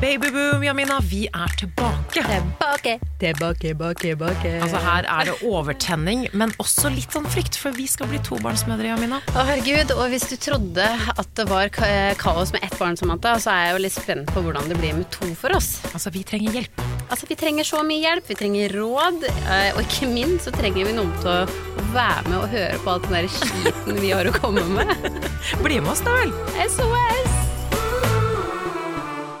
Babyboom, Jamina, vi er tilbake. Tilbake. Tilbake, bake, bake. Altså Her er det overtenning, men også litt sånn frykt, for vi skal bli tobarnsmødre. Jamina. Å, herregud. Og hvis du trodde at det var ka- kaos med ett barn, Samantha, så er jeg jo litt spent på hvordan det blir med to for oss. Altså, Vi trenger hjelp. Altså, Vi trenger så mye hjelp, vi trenger råd, eh, og ikke minst så trenger vi noen til å være med og høre på alt den der skiten vi har å komme med. Bli med oss, da vel. SOS!